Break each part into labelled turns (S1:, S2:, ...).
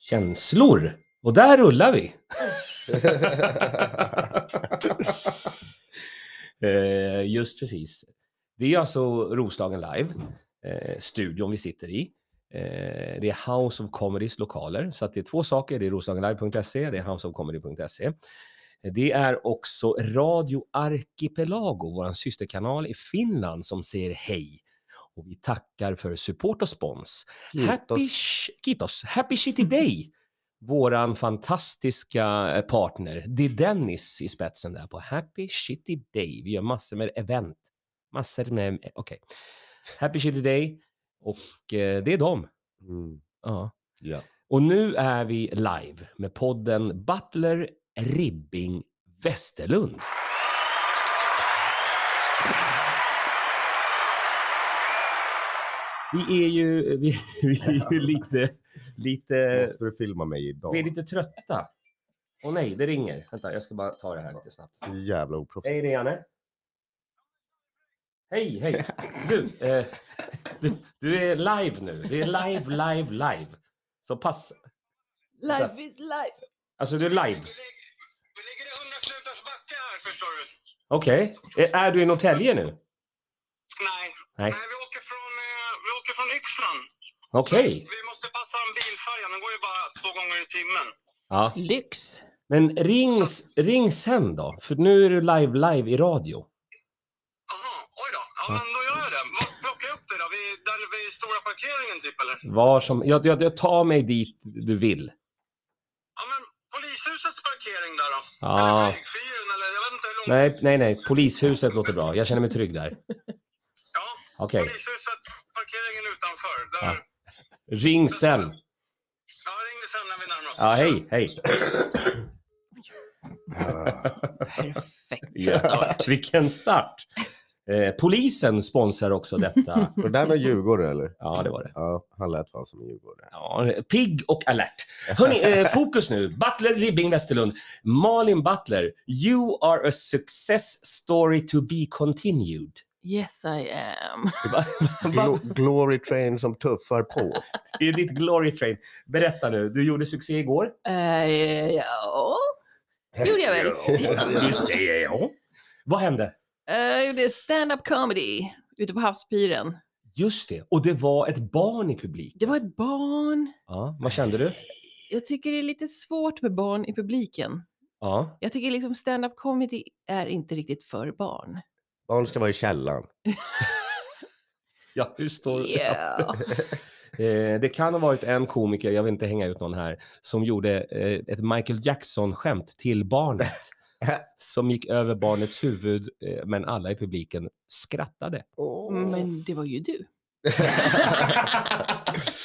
S1: Känslor. Och där rullar vi. Eh, just precis. Det är alltså Roslagen Live, eh, studion vi sitter i. Eh, det är House of Comedys lokaler, så att det är två saker. Det är roslagenlive.se, det är houseofcomedy.se. Det är också Radio Arkipelago, vår systerkanal i Finland, som säger hej. Och vi tackar för support och spons. Happy, sh- kitos, happy shitty day! Våran fantastiska eh, partner, det är Dennis i spetsen där på Happy Shitty Day. Vi gör massor med event. Massor med, eh, okej. Happy Shitty Day och eh, det är dem.
S2: Mm.
S1: Ja.
S2: Ja.
S1: Och nu är vi live med podden Butler Ribbing Västerlund. Vi är ju, vi, vi är ju lite,
S3: Eh,
S1: lite
S2: Måste du filma mig idag?
S1: vi är lite trötta. Åh nej, det ringer. Vänta, jag ska bara ta det här lite snabbt.
S2: Så jävla
S3: Eh,
S2: oproffsigt.
S1: Hej, det är Janne. Hej, hej. Du, eh, du, du är live nu. Det är live, live, live. Så pass. Life
S4: is life.
S1: Alltså, du är live.
S3: Vi ligger- vi ligger i 100 knutars backe här förstår du.
S1: Okej. Är- Är du i Norrtälje nu?
S3: Nej.
S1: Nej.
S3: Nej, vi åker från, eh, vi åker från Yxlan.
S1: Okej.
S3: Vi måste passa en bilfärja, den går ju bara två gånger i timmen.
S1: Ja.
S4: Lyx.
S1: Men rings, ring sen då, för nu är du live, live i radio.
S3: Jaha, oj då. Ja,
S1: Ja.
S3: men då gör jag det. Var plockar jag upp det då? Vi, där vid stora parkeringen typ eller?
S1: Var som, jag, jag, jag tar mig dit du vill.
S3: Ja, men polishusets parkering där då? Eller
S1: Ja.
S3: flygfyren eller jag vet inte hur långt.
S1: Nej, nej, nej. Polishuset låter bra. Jag känner mig trygg där.
S3: Ja,
S1: Okej.
S3: polishuset, parkeringen utanför. Där.
S1: Ja. Ring sen.
S3: Ja, ring det sen när vi närmar oss.
S1: Ja, hej, hej.
S2: Ah,
S4: Perfekt.
S1: Vilken start. Eh, polisen sponsrar också detta.
S2: Var det där någon djurgårdare eller?
S1: Ja, det var det.
S2: Ja, han lät fan som en djurgårdare.
S1: Ja, pigg och alert. Hörni, eh, fokus nu. Butler Ribbing Westerlund. Malin Butler, you are a success story to be continued.
S4: Yes I am.
S1: Va?
S2: Glo- glory train som tuffar på.
S1: Det är ditt glory train. Berätta nu, du gjorde succé igår.
S4: Eh, ja, gjorde jag väl.
S1: Du säger ja. Vad hände?
S4: Eh, jag gjorde stand-up comedy ute på havspyren.
S1: Just det, och det var ett barn i publiken.
S4: Det var ett barn.
S1: Ja, vad kände du?
S4: Jag tycker det är lite svårt med barn i publiken.
S1: Ja,
S4: Jag tycker liksom stand-up comedy är inte riktigt för barn.
S2: Barn ska vara i källaren.
S1: ja hur står det?
S4: Yeah.
S1: Eh, det kan ha varit en komiker, jag vill inte hänga ut någon här, som gjorde eh, ett Michael Jackson-skämt till barnet. som gick över barnets huvud, eh, men alla i publiken skrattade.
S2: Åh.
S4: Mm, Men det var ju du.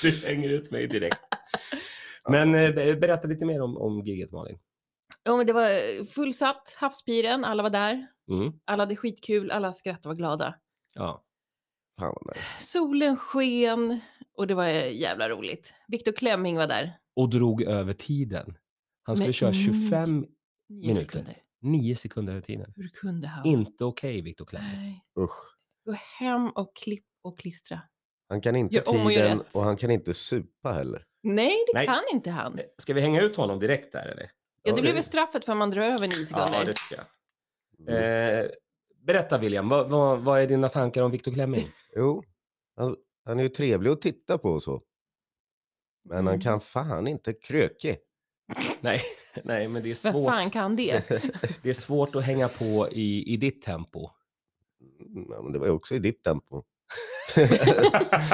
S1: du hänger ut mig direkt. Men eh, be- berätta lite mer om, om giget Malin.
S4: Ja, men det var fullsatt, havspyren, alla var där.
S1: Mm.
S4: Alla hade skitkul, alla skrattade och var glada.
S1: Ja.
S2: Fan vad nice.
S4: Solen sken och det var eh, jävla roligt. Viktor Klemming var där.
S1: Och drog över tiden. Han skulle
S4: Men-
S1: köra 25,
S4: Nio
S1: Minuter.
S4: sekunder.
S1: 9 sekunder över tiden.
S4: Hur kunde han?
S1: Inte okej Viktor Klemme.
S4: Nej.
S2: Usch.
S4: Gå hem och klipp och klistra.
S2: Han kan inte
S4: Gör om och gör
S2: tiden
S4: rätt.
S2: och han kan inte supa heller.
S4: Nej, det
S1: Nej.
S4: kan inte han. Ja,
S1: Ska vi hänga ut honom direkt där eller?
S4: det
S2: det-
S4: blev väl straffet för att man drar över nio sekunder.
S1: Ja, det tycker jag. Eh, berätta William, vad, vad, vad är dina tankar om Viktor Klemming?
S2: Jo, han, han är ju trevlig att titta på och så. Men
S4: Mm.
S2: han kan fan inte kröke.
S1: nej, nej, men det är
S4: Vem
S1: svårt.
S4: fan kan det?
S1: Det är svårt att hänga på i, i ditt tempo.
S2: Mm, Ja, men det var ju också i ditt tempo.
S4: Så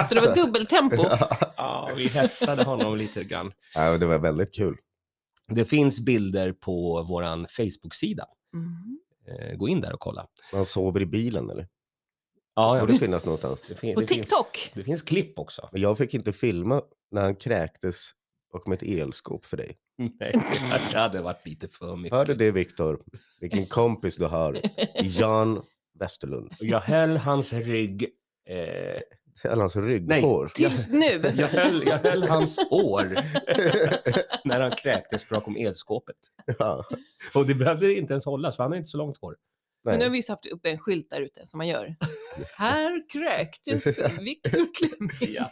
S4: det var dubbeltempo.
S1: Alltså. Ja, vi hetsade honom lite grann.
S2: ja, men det var väldigt kul.
S1: Det finns bilder på våran Facebook-sida.
S4: Mm.
S1: Eh, Gå in där och kolla.
S2: Man sover i bilen eller?
S1: Ja,
S2: Borde finnas någonstans.
S1: det fin-
S4: På
S1: det finns-
S4: TikTok.
S1: Det finns klipp också.
S2: Men jag fick inte filma när han kräktes bakom ett elskåp för dig.
S1: Nej, det hade varit lite för mycket.
S2: Hör du det Viktor? Vilken kompis du har. Jan Westerlund.
S1: Jag höll hans rygg. Eh,
S2: Eller hans
S1: nej,
S2: rygghår.
S1: jag,
S4: Tills nu.
S1: jag, höll, jag höll hans hår när han kräktes bakom elskåpet.
S2: ja,
S1: Och det behövde inte ens hållas, för han har inte så långt hår.
S4: Men nu har
S2: nej.
S4: vi ju satt upp en skylt där ute som man gör. Här kräktes Viktor Klemming.
S1: Ja.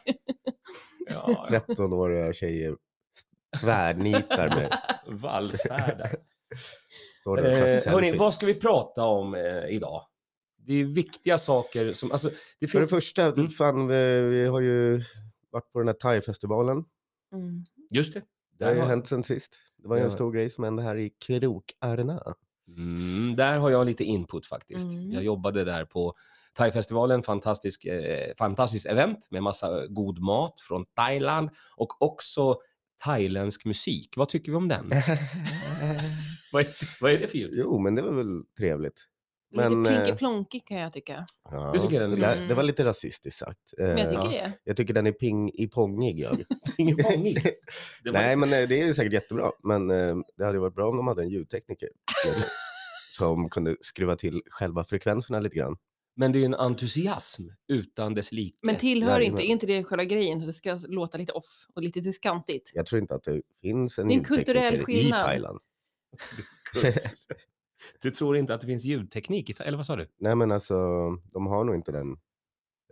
S1: Ja,
S2: 13-åriga tjejer Tvärnitar med.
S1: Vallfärdar.
S2: Står där och tar
S1: Eh, hörni,
S2: selfies.
S1: vad ska vi prata om eh, idag? Det är viktiga saker som, alltså, det
S2: För det
S1: finns...
S2: första,
S1: Mm.
S2: fan, vi, vi har ju varit på den här thai-festivalen.
S4: Mm.
S1: Just det.
S2: Det har
S1: Där
S2: ju
S1: har,
S2: hänt sen sist. Det var ju
S1: Ja.
S2: en stor grej som hände här i Krokarna.
S1: mm, där har jag lite input faktiskt.
S4: Mm.
S1: Jag jobbade där på Thai-festivalen, fantastisk, eh, fantastiskt event med massa eh, god mat från Thailand och också thailändsk musik. Vad tycker vi om den? vad, är, vad är det för ljud?
S2: Eh. jo, men det var väl trevligt. Men,
S4: Lite
S2: eh,
S4: plinky-plonky kan jag tycka.
S2: Ja,
S1: Du tycker den är
S2: det, där,
S4: trevlig?
S2: det var lite rasistiskt sagt.
S4: Mm. Men jag
S2: Eh,
S4: tycker det.
S2: jag tycker den är ping i pongig. Jag.
S1: Ingen aning. Det var-
S2: Nej, men eh, det är säkert jättebra. Men eh, det hade ju varit bra om de hade en ljudtekniker som kunde skruva till själva frekvenserna lite grann.
S1: Men det är ju en entusiasm utan dess like.
S4: Men tillhör
S2: jajamän.
S4: inte, är inte det själva grejen? Att det ska låta lite off och lite diskantigt.
S2: Jag tror inte att det finns en
S4: Det är en kulturell
S2: ljudtekniker i
S4: skillnad.
S2: Thailand.
S1: du tror inte att det finns ljudteknik? i Tha- Eller vad sa du?
S2: Nej, men alltså, de har nog inte den,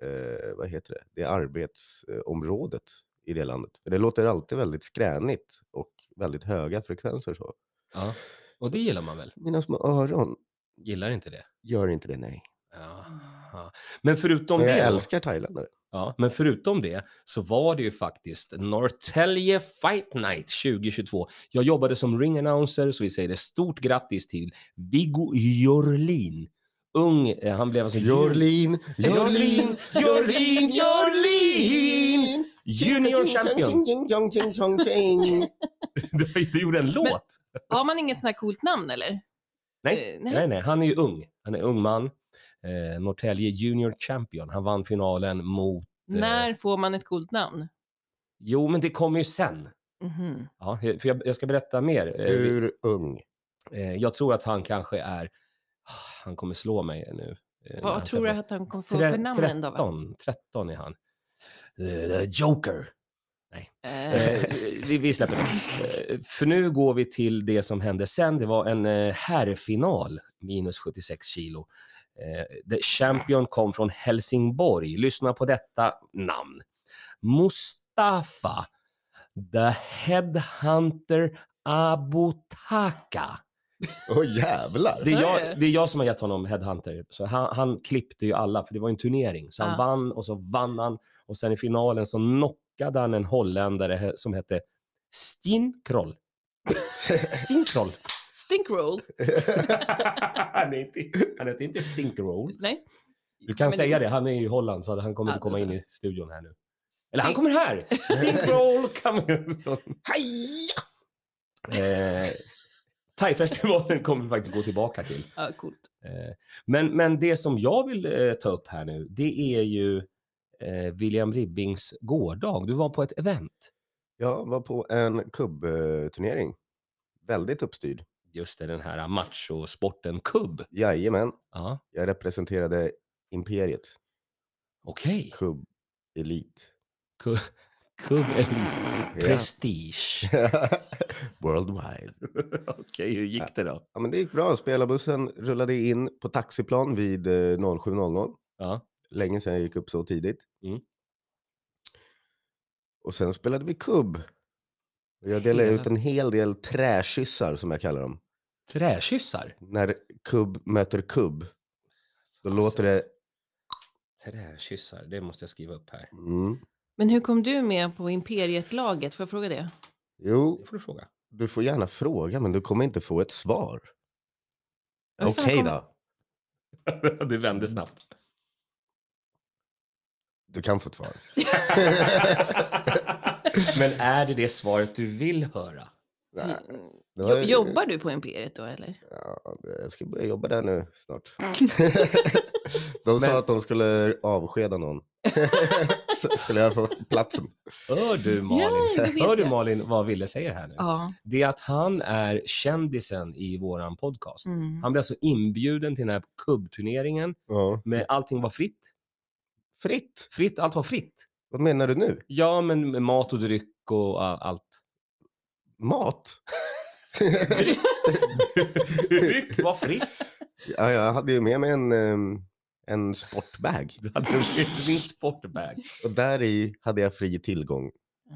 S2: eh, vad heter det, det arbetsområdet i det landet. För det låter alltid väldigt skränigt och väldigt höga frekvenser så.
S1: Ja. Och det gillar man väl?
S2: Mina små öron
S1: Gillar inte det?
S2: gör inte det, nej.
S1: Jaha. Men förutom
S2: Men
S1: det,
S2: jag
S1: då-
S2: älskar thailändare.
S1: ja, men förutom det så var det ju faktiskt Norrtälje Fight Night 2022. Jag jobbade som ring announcer så vi säger det stort grattis till Viggo Jorlin. Ung, eh, han blev alltså jun-
S2: Jorlin, Jorlin,
S1: Jorlin, Jorlin, Jorlin! Junior champion.
S2: champion!
S1: Du, du gjorde en låt.
S4: Har man inget sånt här coolt namn eller?
S1: Nej,
S4: Eh, nej.
S1: nej, nej, han är ju ung. Han är ung man. Eh, Norrtälje Junior Champion. Han vann finalen mot... eh,
S4: När får man ett coolt namn?
S1: Jo, men det kommer ju sen.
S4: Mhm.
S1: Ja, för jag, jag ska berätta mer. Eh, vi-
S2: Hur ung?
S1: eh, Jag tror att han kanske är... Ah, Han kommer slå mig nu. eh, när han
S4: Vad tror du
S1: träffar-
S4: att han kommer få för
S1: Tre-
S4: namn en dag?
S1: 13, 13 är han. Eh, The Joker.
S4: Eh,
S1: Eh, vi, vi släpper det. Eh, För nu går vi till det som hände sen. Det var en eh, herrfinal, minus 76 kilo. Eh, The Champion kom från Helsingborg. Lyssna på detta namn. Mustafa The Headhunter Abutaka.
S2: Åh jävlar!
S1: Det är,
S4: Är det?
S1: jag, det är jag som har gett honom headhunter. Så han, han klippte ju alla, för det var ju en turnering. Så han
S4: Ah.
S1: vann och så vann han. Och sen i finalen så knockade han en holländare he- som hette Stinkroll. Stinkroll.
S4: stinkroll?
S1: han, är inte, han heter inte Stinkroll.
S4: Nej.
S1: Du kan
S4: Men
S1: säga det, han är ju i Holland så han kommer
S4: Ja,
S1: inte komma
S4: då
S1: in
S4: så.
S1: i studion här nu. Eller han
S4: Stink-
S1: kommer här! Stinkroll kommer ut. Eh, Thai-festivalen kommer vi faktiskt gå tillbaka till.
S4: Ja, coolt.
S1: Eh, Men, men det som jag vill eh, ta upp här nu, det är ju eh, William Ribbings gårdag. Du var på ett event.
S2: Jag var på en kubbturnering. Väldigt uppstyrd.
S1: Just det, den här machosporten kubb.
S2: Jajamän.
S1: Ja,
S2: Jag representerade imperiet.
S1: okej.
S2: Kubb elit.
S1: Ku- Kubb Elite.
S2: Ja.
S1: Prestige.
S2: Worldwide.
S1: okej, hur gick det då?
S2: Ja, men det gick bra. Spelarbussen rullade in på taxiplan vid eh, 07.00.
S1: Ja.
S2: Länge sedan jag gick upp så tidigt.
S1: Mm.
S2: Och sen spelade vi kubb. Och Jag delade ut en hel del träkyssar som jag kallar dem.
S1: Träkyssar.
S2: När kubb möter kubb. Då
S1: Fasen.
S2: låter det...
S1: Träkyssar, det måste jag skriva upp här.
S2: Mm.
S4: Men hur kom du med på Imperiet-laget? Får jag fråga det?
S2: Jo,
S1: Det får du fråga.
S2: Du får gärna fråga, men du kommer inte få ett svar.
S4: Hur fan
S2: Okej
S4: kom-
S2: då,
S1: det vände snabbt.
S2: du kan få ett svar.
S1: men är det det svaret du vill höra?
S2: Nej,
S4: Mm.
S2: det
S4: Jo, jobbar du på Imperiet då eller?
S2: Ja, jag ska börja jobba där nu snart. De sa
S1: Men-
S2: att de skulle avskeda någon. Så skulle jag få platsen.
S1: Hör du Malin,
S4: Ja, det vet
S1: Hör du
S4: jag.
S1: Malin vad Ville säger här nu?
S4: Ja.
S1: Det är att han är kändisen i våran podcast.
S4: Mm.
S1: Han blev alltså inbjuden till den här kubbturneringen
S2: Ja.
S4: Mm.
S1: med allting var fritt.
S2: Fritt?
S1: Fritt, allt var fritt.
S2: Vad menar du nu?
S1: Ja, men med mat och dryck och a- allt.
S2: Mat?
S1: Dryck var fritt.
S2: ja, jag hade ju med mig en, ehm, en sportbag.
S1: Du hade din sportbag.
S2: Och där i hade jag fri tillgång
S4: Ah.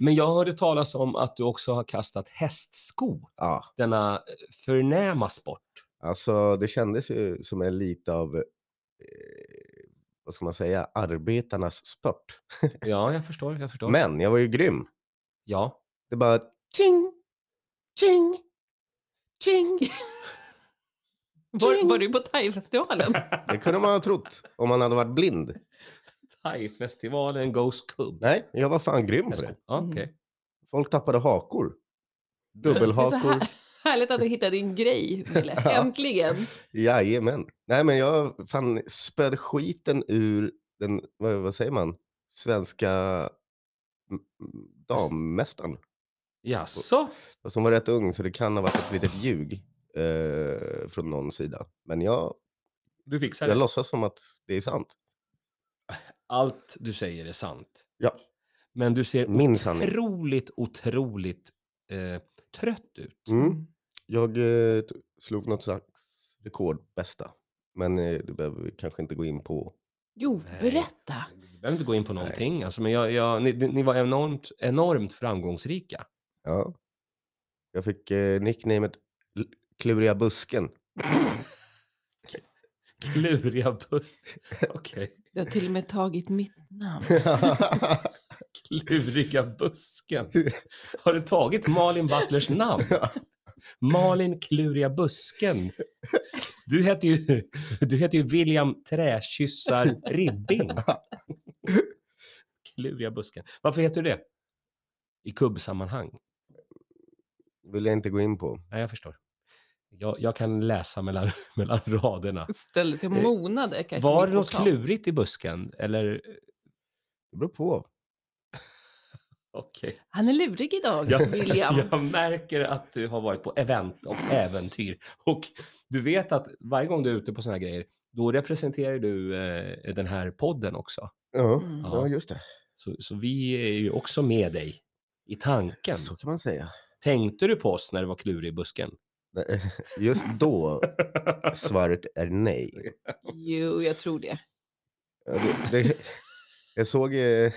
S1: Men jag hörde talas om att du också har kastat hästsko,
S2: Ja,
S1: denna eh, förnäma sport.
S2: alltså det kändes ju som en lite av, eh, vad ska man säga, arbetarnas sport.
S1: Ja, jag förstår. Jag förstår.
S2: Men jag var ju grym.
S1: Ja.
S2: Det bara ting, ting, ting.
S4: Var, var du på thaifestivalen?
S2: Det kunde man ha trott om man hade varit blind.
S1: Thai-festivalen Goes Cub.
S2: Nej, jag var fan grym på
S1: Hästsko.
S2: det.
S1: Ja, okej.
S4: Mm.
S2: Folk tappade hakor.
S4: Så- Det är så
S2: Dubbelhakor.
S4: här, härligt att du hittade din grej, Wille.
S2: Ja.
S4: Äntligen.
S2: Jajamän. Nej, men jag fan spöd skiten ur den, vad, vad säger man, svenska m- m- dammästaren.
S1: Jaså?
S2: Fast hon var rätt ung så det kan ha varit ett litet ljug eh, från någon sida. Men jag,
S1: Du fixar
S2: jag
S1: det.
S2: låtsas som att det är sant.
S1: Allt du säger är sant.
S2: Ja.
S1: Men du ser
S2: Min sanning.
S1: otroligt, otroligt eh, trött ut.
S2: Mm. Jag eh, t- slog något slags rekordbästa. Men eh, det behöver vi kanske inte gå in på.
S4: Jo,
S1: Nej.
S4: berätta.
S1: Vi behöver inte gå in på någonting. Alltså, men jag, jag, ni, ni var enormt, enormt framgångsrika.
S2: Ja. Jag fick eh, nicknamet L- Kluriga busken.
S1: Kluriga buss... Okej.
S4: Du har till och med tagit mitt namn.
S1: Kluriga busken. Har du tagit Malin Butlers namn? Malin Kluriga busken. Du heter ju, du heter ju William Träkyssar Ribbing. Kluriga busken. Varför heter du det? I kubbsammanhang?
S2: Vill jag inte gå in på.
S1: Nej, jag förstår. Jag, jag kan läsa mellan, mellan raderna.
S4: Ställde till
S1: Eh,
S4: monade kanske.
S1: Var
S4: mitt
S1: det
S4: på
S1: något
S4: stan.
S1: klurigt i busken? Eller?
S2: Det beror på.
S1: Okej.
S4: Han är lurig idag,
S1: Ja.
S4: William.
S1: Jag märker att du har varit på event och äventyr. Och du vet att varje gång du är ute på såna här grejer, då representerar du eh, den här podden också.
S2: Ja,
S4: Mm.
S2: ja just det.
S1: Så, så vi är ju också med dig i tanken.
S2: Så kan man säga.
S1: Tänkte du på oss när du var klurig i busken?
S2: Nej, Just då, svaret är nej.
S4: Jo, jag tror det.
S2: Ja, Det, det, jag såg... eh,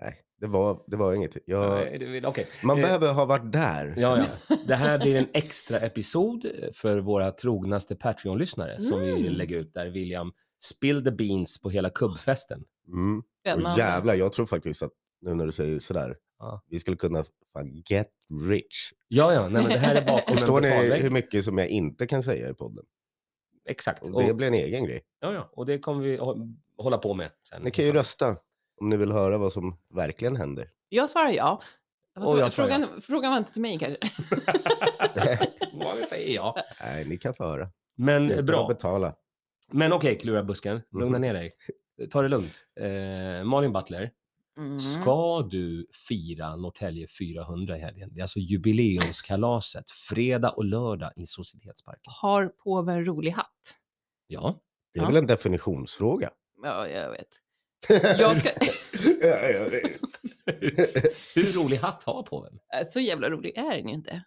S2: Nej, det var, det var inget. Jag,
S1: Nej, det vill- Okej.
S2: man
S1: eh,
S2: behöver ha varit där.
S1: Ja, ja. Det här blir en extra episod för våra trognaste Patreon-lyssnare som vi
S4: Mm.
S1: lägger ut där William spill the beans på hela kubbfesten.
S2: Mm. Och
S4: Spännande.
S2: jävlar, jag tror faktiskt att nu när du säger sådär,
S1: Ja.
S2: vi skulle kunna fan get rich.
S1: Ja, ja, nej, men det här är bakom en
S2: Förstår ni hur
S1: betalvägg.
S2: mycket som jag inte kan säga i podden?
S1: Exakt.
S2: Och det blir en egen grej.
S1: Ja, ja. Och det kommer vi hå- hålla på med sen.
S2: Ni kan ju rösta om ni vill höra vad som verkligen händer.
S4: Jag svarar ja. Fast
S1: Och jag svarar
S4: frågan, frågan var inte till mig kanske.
S1: Vad säger jag.
S2: Nej, ni kan få höra. Utan
S1: Men eh,
S2: att
S1: bra.
S2: Betala.
S1: Men okej, klura busken.
S2: Mhm.
S1: Lugna ner dig. Ta det lugnt. Eh, Malin Butler,
S4: Mm.
S1: ska du fira Norrtälje 400 i helgen? Det är alltså jubileumskalaset, fredag och lördag i Societetsparken.
S4: Har påven rolig hatt?
S1: Ja.
S2: Det är
S4: Ja.
S2: väl en definitionsfråga.
S4: Ja, jag vet. Jag ska...
S2: Ja, ja, det-
S1: Hur rolig hatt har påven?
S4: Äh, Så jävla rolig är den ju inte.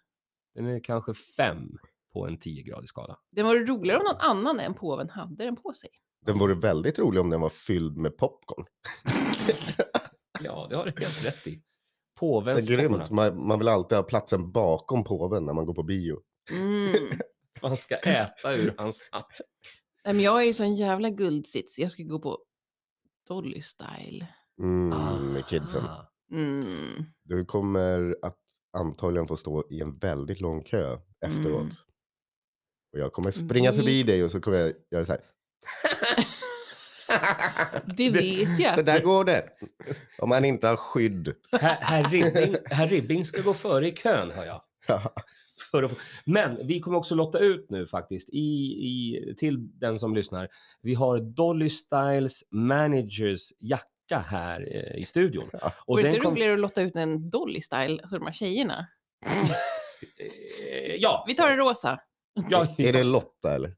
S1: Den är kanske fem på en 10-gradig skala.
S4: Den var roligare om någon annan än påven hade den på sig.
S2: den vore väldigt rolig om den var fylld med popcorn.
S1: Ja, det har du helt rätt i.
S2: Det är
S1: Påvens
S2: grymt. Man, man vill alltid ha platsen bakom påven när man går på bio.
S4: Mm.
S1: Man ska äta ur hans hatt.
S4: Nej, men jag är ju sån jävla guldsits. Jag ska gå på Dolly style.
S2: Mm, med kidsen.
S1: Ah.
S4: Mm.
S2: Du kommer att antagligen få stå i en väldigt lång kö efteråt.
S4: Mm.
S2: Och jag kommer springa förbi
S4: Nej.
S2: dig och så kommer jag göra så här.
S4: Det vet jag.
S2: Så där går det. Om man inte har skydd.
S1: Herr, herr, Ribbing, herr Ribbing ska gå före i kön, hör jag. För att få... Men vi kommer också lotta ut nu faktiskt, i, i, till den som lyssnar. Vi har Dolly Styles managers jacka här eh, i studion.
S2: Ja.
S1: Och
S4: Vore det
S1: den
S4: inte
S1: kom-
S4: roligare att låta ut en Dolly style, alltså de här tjejerna?
S1: Eh, Ja,
S4: Vi tar en rosa.
S1: ja,
S2: Är det Lotta eller?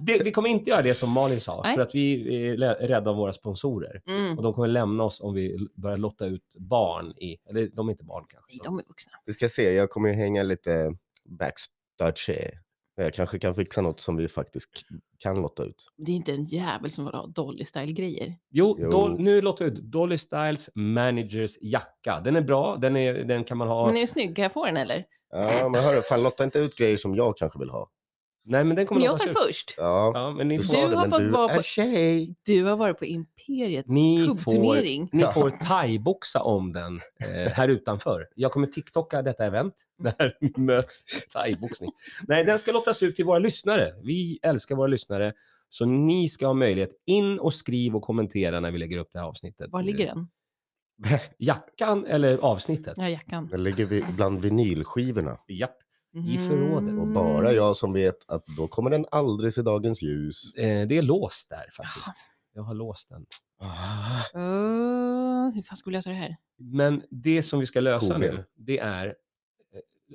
S1: det, vi kommer inte göra det som Malin sa,
S4: Nej.
S1: för att vi är lä- rädda om våra sponsorer.
S4: Mm.
S1: Och de kommer lämna oss om vi l- börjar lotta ut barn i, eller de är inte barn kanske.
S4: Nej, de är vuxna.
S2: Vi ska se, jag kommer ju hänga lite backstage. Jag kanske kan fixa något som vi faktiskt k- kan lotta ut.
S4: Det är inte en jävel som vill ha Dolly Style-grejer.
S1: Jo,
S2: Jo.
S1: Dol- nu låter jag ut. Dolly Styles managers jacka. Den är bra, den, är, den kan man ha.
S4: Men är den snygg? Kan jag få den eller?
S2: Ja, men hörru, fan lotta inte ut grejer som jag kanske vill ha.
S1: Nej, men den
S4: Men
S1: kommer
S4: jag
S1: låta
S4: tar
S1: sur.
S4: först.
S2: Ja,
S1: Ja, men ni
S2: du
S1: får,
S4: Du
S2: sa det,
S4: har
S2: men
S4: fått
S2: du
S4: vara
S2: är
S4: på-
S2: tjej.
S4: Du har varit på Imperiets
S1: Ni får-
S4: pubturnering.
S1: ni får thaiboxa om den eh, här utanför. Jag kommer TikToka detta event. Där möts thaiboxning. Nej, den ska lottas ut till våra lyssnare. Vi älskar våra lyssnare. Så ni ska ha möjlighet. In och skriv och kommentera när vi lägger upp det här avsnittet.
S4: Var ligger den?
S1: Jackan eller avsnittet?
S4: Ja, jackan.
S2: Den ligger vi bland vinylskivorna.
S1: Japp. i förrådet.
S2: Och
S4: Mm.
S2: bara jag som vet att då kommer den aldrig se dagens ljus.
S1: Eh, det är låst där faktiskt. Jag har låst den.
S4: Ah. Öh, hur fan ska vi lösa det här?
S1: Men det som vi ska lösa
S2: Koben.
S1: nu, det är... eh,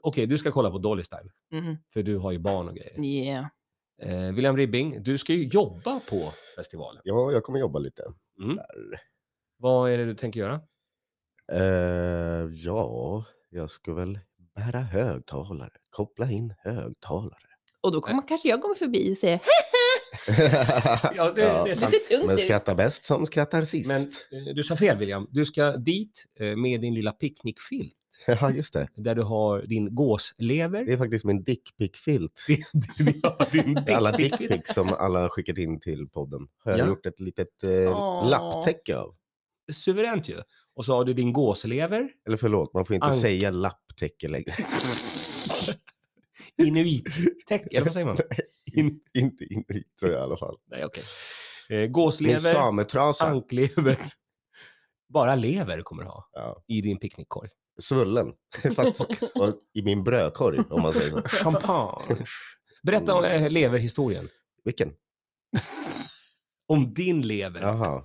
S1: Okej, du ska kolla på Dolly Style,
S4: Mm.
S1: för du har ju barn och grejer.
S4: Yeah.
S1: Eh, William Ribbing, du ska ju jobba på festivalen.
S2: Ja, jag kommer jobba lite.
S1: Mm.
S2: Där.
S1: Vad är det du tänker göra?
S2: Eh, ja, jag ska väl bära högtalare. Koppla in högtalare.
S4: Och då kommer kanske jag kommer förbi och säger "Hej,
S1: Ja, det- det är
S4: det
S1: sant.
S4: ser tungt
S2: Men
S4: ut.
S2: skratta bäst som skrattar sist.
S1: Men eh, du sa fel William, du ska dit eh, med din lilla picknickfilt
S2: Ja, just det.
S1: där du har din
S2: Det
S1: gåslever.
S2: är faktiskt min dickpickfilt.
S1: Ja, din
S2: Det är Alla
S1: dickpick-
S2: dickpics som alla skickat in till podden har jag
S1: Ja.
S2: gjort ett litet eh,
S4: Åh.
S2: lapptäcke av.
S1: Suveränt ju. Och så har du din gåslever,
S2: Eller förlåt, man får inte
S1: Ank.
S2: säga lapptäcke längre.
S1: inuittäcke, eller vad säger man? In,
S2: inte inuit tror jag i alla fall.
S1: nej, okej. Eh,
S2: Min
S1: gåslever,
S2: sametrasa.
S1: anklever. Bara lever kommer du ha
S2: Ja.
S1: i din picknickkorg.
S2: Svullen. Fast och i min brödkorg om man säger så.
S1: Champagne. Berätta om
S2: Mm.
S1: eh, leverhistorien.
S2: Vilken?
S1: Om din lever.
S2: Jaha.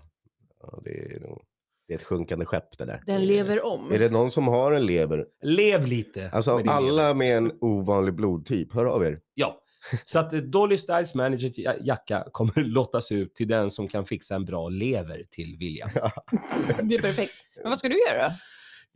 S2: Ja, det, är nog, det är ett sjunkande skepp det där. Det
S4: Den
S2: är-
S4: lever om.
S2: Är det någon som har en lever?
S1: Lev lite.
S2: Alltså
S1: med din lever.
S2: alla med en ovanlig blodtyp, hör av er.
S1: Ja. Så att eh, Dolly Styles manager ja- jacka kommer lottas ut till den som kan fixa en bra lever till William.
S4: Det är perfekt. Men vad ska du göra?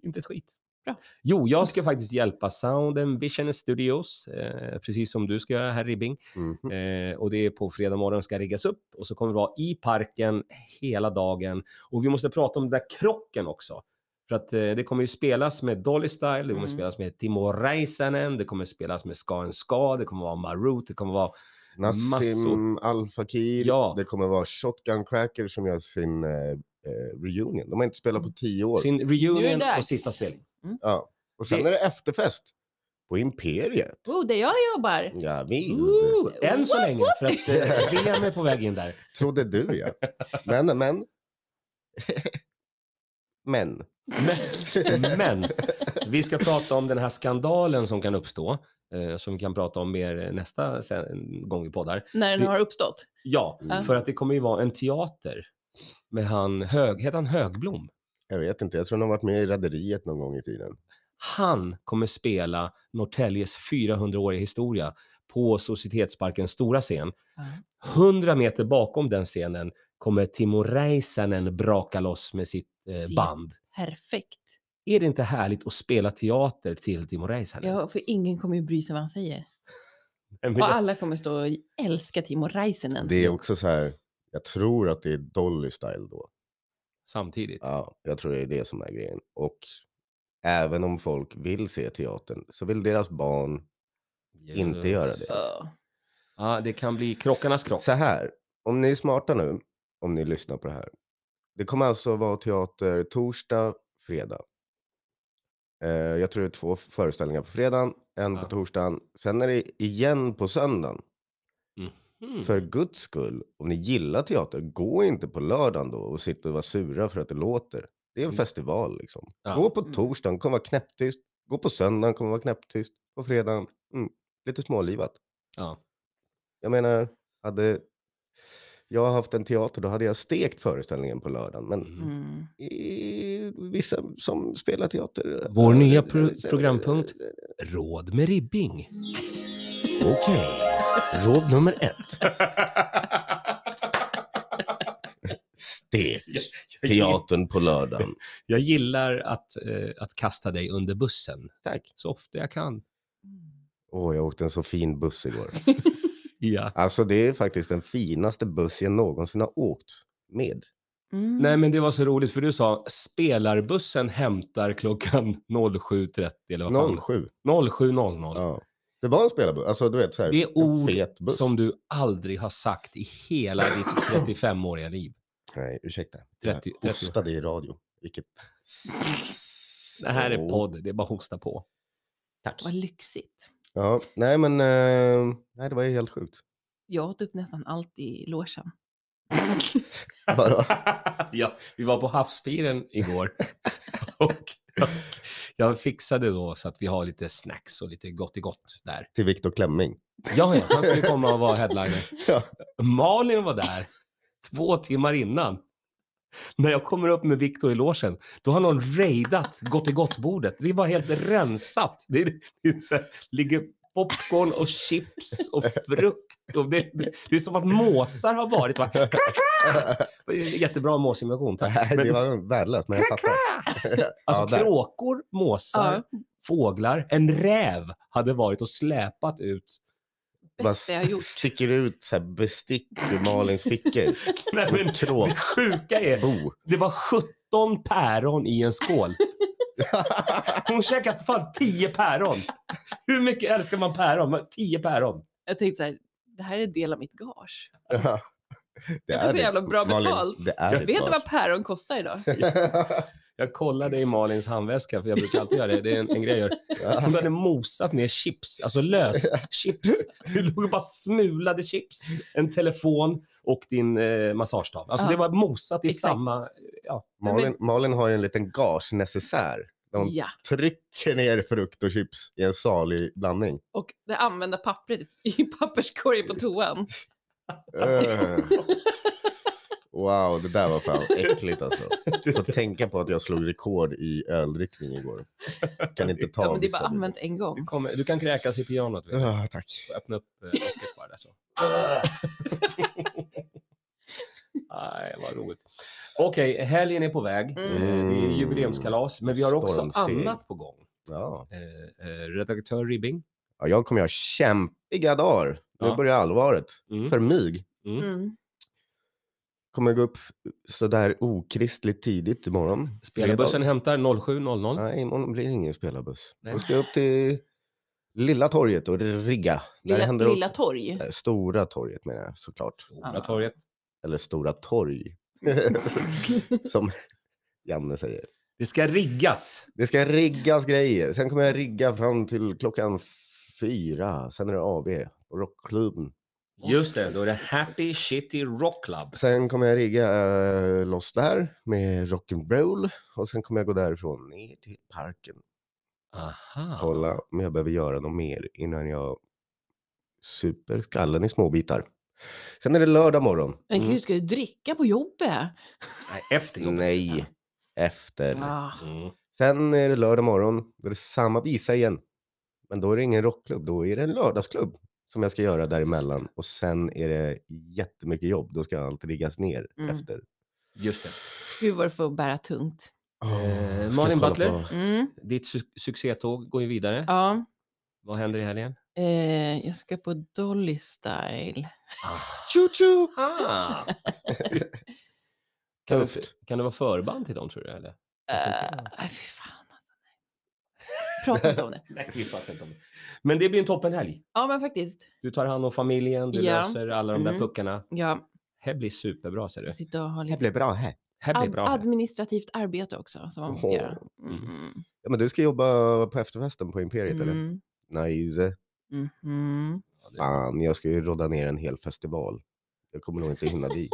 S1: Inte ett skit.
S4: Bra.
S1: Jo, jag ska faktiskt hjälpa Sound and Vision Studios, eh, precis som du ska göra här Ribbing.
S2: Mhm.
S4: Mm.
S1: Eh, och det är på fredag morgon ska riggas upp och så kommer det vara i parken hela dagen. Och vi måste prata om den där krocken också. För att eh, det kommer ju spelas med Dolly Style, det kommer
S4: Mm.
S1: spelas med Timo Räisänen, det kommer spelas med Ska en Ska, det kommer vara Marut, det kommer vara...
S2: Nassim
S1: Massor.
S2: Al Fakir.
S1: Ja.
S2: Det kommer vara Shotgun Cracker som gör sin eh, eh, reunion. De har inte spelat på tio år.
S1: Mm. Sin
S4: Nu är
S1: reunion
S4: det dags.
S1: och sista spelning.
S2: Ja. Och sen
S1: Det-
S2: är det efterfest på Imperiet.
S4: Oh, där jag jobbar.
S2: Ja, visst.
S1: Ooh, än så
S4: Woop,
S1: länge, för att eh, William är på väg in där.
S2: Trodde du ja. Men, men. men.
S1: Men, men vi ska prata om den här skandalen som kan uppstå, eh, som vi kan prata om mer nästa sen, gång vi poddar.
S4: När den
S1: Det-
S4: har uppstått.
S1: Ja,
S4: Mm.
S1: för att det kommer ju vara en teater med han, hög, heter han Högblom?
S2: Jag vet inte, jag tror de har varit med i Rederiet någon gång i tiden.
S1: Han kommer spela Norrtäljes 400-åriga historia på Societetsparkens stora scen. 100 meter bakom den scenen kommer Timo Räisänen braka loss med sitt eh, band.
S4: Perfekt.
S1: Är det inte härligt att spela teater till Timo Räisänen?
S4: Ja, för ingen kommer ju bry sig vad han säger.
S1: Men
S4: Och
S1: det-
S4: alla kommer stå och älska Timo Räisänen.
S2: Det är också så här, jag tror att det är Dolly Style då.
S1: Samtidigt.
S2: Ja, jag tror det är det som är grejen. Och även om folk vill se teatern så vill deras barn inte göra det.
S4: Ja.
S1: Ja, det kan bli krockarnas krock.
S2: Så här, om ni är smarta nu, om ni lyssnar på det här. Det kommer alltså vara teater torsdag, fredag. Eh, jag tror det är två föreställningar på fredagen, en
S1: Ja.
S2: på torsdagen. Sen är det igen på söndagen.
S1: Mm.
S2: För guds skull, om ni gillar teater, gå inte på lördagen då och sitta och vara sura för att det låter. Det är en
S1: Mm.
S2: festival liksom.
S1: Ja.
S2: Gå på
S4: Mm.
S2: torsdagen, kommer vara knäpptyst. Gå på söndagen, kommer vara knäpptyst. På fredagen, mm, lite smålivat.
S1: Ja.
S2: Jag menar, hade jag haft en teater då hade jag stekt föreställningen på lördagen. Men
S1: Mm.
S4: Mm.
S2: i, vissa som spelar teater...
S1: Vår nya pro- programpunkt. Råd med ribbing.
S2: Okej, råd nummer ett. Stek teatern på lördagen.
S1: Jag gillar att, eh, att kasta dig under bussen
S2: Tack.
S4: mm.
S1: så ofta jag kan.
S2: Åh, jag åkte en så fin buss igår.
S1: Ja.
S2: Alltså det är faktiskt den finaste buss jag någonsin har åkt med.
S4: Mm.
S1: Nej, men det var så roligt för du sa spelarbussen hämtar klockan 07.30 eller vad fan?
S2: 07.
S1: 07.00.
S2: Ja. Det var en spelarbuss, alltså du vet så här,
S1: Det är
S2: en
S1: ord
S2: fet buss.
S1: Som du aldrig har sagt i hela ditt 35-åriga liv.
S2: Nej, ursäkta.
S1: 30
S2: jag hostade i radio. Vilket...
S1: Det här är
S2: Åh,
S1: podd, det är bara att hosta på.
S2: Tack.
S4: Vad lyxigt.
S2: Ja, nej men, eh, nej det var ju helt sjukt.
S4: Jag åt upp nästan allt i logen.
S2: Vadå?
S1: ja, vi var på havspiren igår. och, och jag fixade då så att vi har lite snacks och lite gott i gott där.
S2: Till Viktor Klemming.
S1: Ja, ja, han skulle komma och vara headliner.
S2: Ja.
S1: Malin var där två timmar innan. När jag kommer upp med Viktor i logen, då har någon raidat gott i gott-bordet. Det är bara helt rensat. Det, är, det är så här, ligger popcorn och chips och frukt. Och det, det, det är som att måsar har varit. Va? Jättebra måsimulation, tack.
S2: Nej, det
S1: Men,
S2: var värdelöst, men jag fattar. ja,
S1: alltså
S2: där.
S1: kråkor, måsar,
S4: Ja,
S1: fåglar, en räv hade varit och släpat ut.
S2: Bara
S4: bästa jag gjort.
S2: sticker ut så här bestick ur Malins fickor.
S1: Nej,
S2: Som
S1: men,
S2: ett kråk.
S1: det sjuka är,
S2: Bo.
S1: Det var 17 päron i en skål. Hon käkat fan 10 päron. Hur mycket älskar man päron? Men 10 päron.
S4: Jag tänkte så här, det här är en del av mitt gage.
S2: Ja. Det
S4: Jag får så jävla bra betalt.
S2: det är
S1: Jag
S2: ditt
S4: Vet du
S2: gage.
S4: vad päron kostar idag?
S1: Jag kollade i Malins handväska, för jag brukar alltid göra det. Det är en, en grej jag gör. Hon hade mosat ner chips, alltså lös chips. Det låg bara smulade chips, en telefon och din eh, massagestav. Alltså
S4: Ja.
S1: det var mosat i
S4: Exakt.
S1: samma... Ja.
S2: Malin, Malin har ju en liten gagenecessär. Där hon
S4: Ja,
S2: trycker ner frukt och chips i en salig blandning.
S4: och det använda pappret i papperskorgen på toan.
S2: Eh. Wow, det där var fan äckligt alltså. Får tänka på att jag slog rekord i öldrickning igår. Kan inte ta
S4: Ja, men det är
S2: vissa
S4: bara
S2: bitar.
S4: använt en
S1: Du,
S4: gång.
S1: kommer, du kan kräkas i pianot. Vet du.
S2: Ah, tack.
S1: Öppna upp eh, locket bara där så. Nej, vad roligt. Okej, helgen är på väg.
S4: Mm.
S1: Eh, Det är jubileumskalas, men vi har också
S2: Stormsteg.
S1: annat på gång.
S2: Ja.
S1: Eh, eh, Redaktör Ribbing.
S2: Ja, jag kommer ha kämpiga dagar. Nu
S1: Ja.
S2: börjar allvaret.
S1: Mm.
S2: För mig.
S4: Mm.
S2: Kommer gå upp sådär okristligt tidigt imorgon.
S1: Spelarbussen hämtar 07.00.
S2: Nej, imorgon blir det ingen spelarbuss.
S1: Nej.
S2: Då ska jag upp till Lilla torget och rigga. Där
S4: Lilla,
S2: händer
S4: lilla
S2: också-
S4: torg.
S2: Eh, Stora torget menar jag såklart.
S1: Stora torget.
S2: Eller Stora torg. Som Janne säger.
S1: Det ska riggas.
S2: Det ska riggas grejer. Sen kommer jag rigga fram till klockan fyra. Sen är det AV och rockklubben.
S1: Just det, då är det Happy Shitty Rock Club.
S2: Sen kommer jag rigga eh, loss där med rock'n'roll. Och sen kommer jag gå därifrån ner till parken.
S1: Aha.
S2: Kolla om jag behöver göra något mer innan jag super skallen i små bitar. Sen är det lördag morgon. Mm.
S4: Men gud, ska du dricka på jobbet?
S1: Nej, Efter jobbet.
S2: Nej, efter.
S4: Ah.
S1: Mm.
S2: Sen är det lördag morgon. Då är det samma visa igen. Men då är det ingen rockklubb. Då är det en lördagsklubb som jag ska göra däremellan. Och sen är det jättemycket jobb. Då ska allt riggas ner
S4: Mm.
S2: efter.
S1: Just det.
S4: Gud vad du får bära tungt.
S1: Eh,
S2: Ska
S1: Malin
S2: kolla
S1: Butler?
S2: på-
S4: Mm.
S1: Ditt su- succétåg går ju vidare.
S4: Ja,
S1: Vad händer i helgen?
S4: eh, jag ska på Dolly Style.
S2: Tjo-tjo!
S1: Ah. Kan, det,
S2: Tufft.
S1: kan det vara förband till dem tror du? Eller?
S4: Eh, nej, fy fan alltså. Nej. Prata inte om det.
S1: Nej, vi fattar inte om det. Men det blir en toppenhelg.
S4: Ja, men faktiskt.
S1: Du tar hand om familjen, du
S4: Ja.
S1: löser alla de där
S4: Mm.
S1: puckarna.
S4: Ja,
S1: Det blir superbra ser du.
S4: jag sitter och har
S2: Det
S4: lite
S2: blev bra här.
S1: Det blir
S4: ad-
S1: bra. helg.
S4: administrativt arbete också som man måste
S2: Åhå.
S4: göra. Mm.
S2: Ja, men du ska jobba på efterfesten på Imperiet eller?
S4: Mm.
S2: Nice.
S4: Mhm.
S1: Ja, det-
S2: Fan, jag ska ju rodda ner en hel festival. Jag kommer nog inte hinna dit.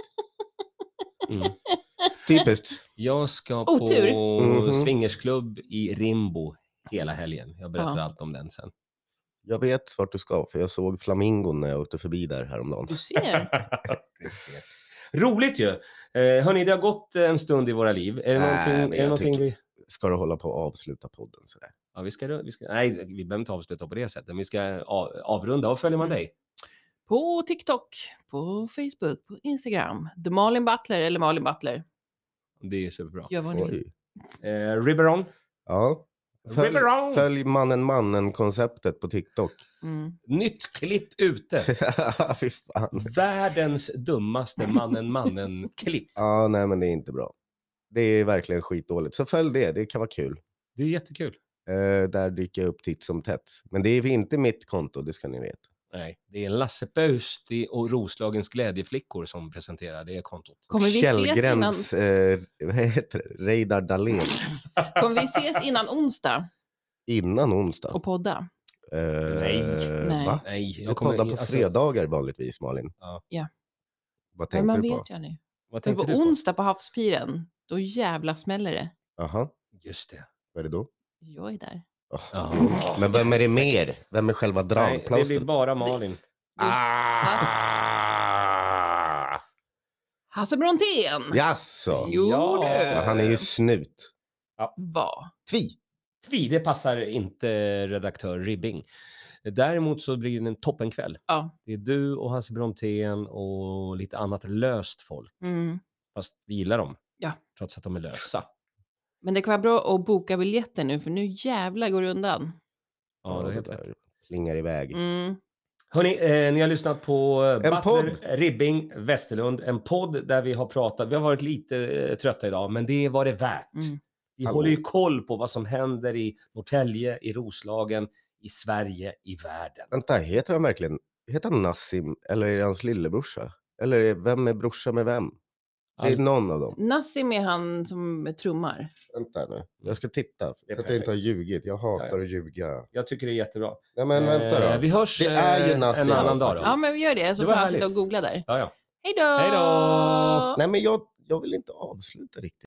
S1: Mm.
S2: Typiskt.
S1: Jag ska på
S4: Otur.
S2: Mhm.
S1: swingersklubb i Rimbo hela helgen. Jag berättar
S4: Ja.
S1: allt om den sen.
S2: Jag vet vart du ska, för jag såg flamingon när jag åkte förbi där häromdagen.
S4: Du ser.
S1: Roligt ju! Eh, hörni, det har gått en stund i våra liv. Är det
S2: Nej,
S1: någonting,
S2: men
S1: är det
S2: jag
S1: någonting
S2: tycker-
S1: vi...
S2: Ska du hålla på att avsluta podden sådär?
S1: Ja, vi ska, vi ska, nej, vi behöver inte avsluta på det sättet. men Vi ska av, avrunda. Var följer man
S4: Mm.
S1: dig?
S4: På TikTok, på Facebook, på Instagram. The Malin Butler eller Malin Butler.
S1: Det är superbra.
S4: Gör vad ni vill.
S2: Oj.
S1: Eh, Riberon,
S2: Ja, Följ,
S1: Riverong!
S2: följ mannen mannen-konceptet på TikTok.
S4: Mm.
S1: Nytt klipp ute.
S2: Fy fan.
S1: Världens dummaste mannen mannen-klipp.
S2: Ja, nej men det är inte bra. Det är verkligen skitdåligt. Så följ det, det kan vara kul.
S1: Det är jättekul.
S2: Eh, där dyker jag upp titt som tätt. Men det är inte mitt konto, det ska ni veta.
S1: Nej, det är Lasse Pöysti och Roslagens glädjeflickor som presenterar det kontot.
S4: Kommer vi ses innan,
S2: Källgrens, eh, vad heter det? Reidar Dahlén.
S4: kommer vi ses innan onsdag
S2: Innan onsdag.
S4: och podda?
S2: Eh,
S1: Nej.
S4: Nej.
S2: Va?
S1: Nej,
S2: Jag
S1: jag kommer...
S2: poddar på
S1: alltså,
S2: fredagar vanligtvis, Malin.
S1: Ja.
S4: Ja.
S2: Vad
S4: Men
S2: tänkte
S4: man
S2: du på?
S4: vet ju aldrig.
S1: Vad
S4: Men på
S1: tänkte du på?
S4: onsdag på havspiren, då jävla smäller det.
S2: Jaha,
S1: Just det.
S2: vad är det då?
S4: Jag är där.
S2: Ja.
S1: Ja.
S2: Men vem är det mer? Vem är själva
S1: Nej, det blir
S2: dragplåstret?
S1: bara Malin.
S2: Ah!
S4: Hasse Brontén!
S2: Jaså?
S4: Jo
S1: Ja.
S4: du!
S2: Ja, han är
S1: eh.
S2: ju snut.
S4: Vad?
S2: Tvi!
S1: Tvi, det passar inte redaktör Ribbing. Däremot så blir det en toppenkväll.
S4: Ja.
S1: Det är du och Hasse Brontén och lite annat löst folk.
S4: Mm.
S1: Fast vi gillar dem.
S4: Ja.
S1: Trots att de är lösa.
S4: Men det kan vara bra att boka biljetter nu för nu jävlar går det undan.
S1: Ja, det är
S2: det
S1: helt rätt.
S2: där plingar iväg.
S4: Mm.
S1: Hörni, eh, ni har lyssnat på eh, Butler,
S2: podd.
S1: Ribbing, Westerlund. En podd där vi har pratat. Vi har varit lite eh, trötta idag, men det var det värt.
S4: Mm.
S1: Vi
S2: Hallå.
S1: håller ju koll på vad som händer i Norrtälje, i Roslagen, i Sverige, i världen.
S2: Vänta, heter han verkligen heter han Nassim eller är det hans lillebrorsa? Eller är, vem är brorsa med vem? Det är
S1: All-
S2: någon av dem.
S4: Nassim är han som trummar.
S2: Vänta nu, jag ska titta.
S1: Mm. Det är
S2: Så att jag
S1: perfekt.
S2: inte har ljugit. Jag hatar att ljuga.
S1: Jag tycker det är jättebra.
S2: Nej men vänta
S1: Eh,
S2: då.
S1: Vi hörs
S2: Det är ju
S1: eh,
S2: Nassim
S1: en annan
S2: då,
S1: dag då.
S2: faktiskt.
S4: Ja, men vi gör det så
S1: Det
S4: får
S1: var
S4: han sitta och
S1: härligt.
S4: googla där.
S1: Ja, ja.
S4: Hej då!
S1: Hej då!
S2: Nej men jag, jag vill inte avsluta riktigt.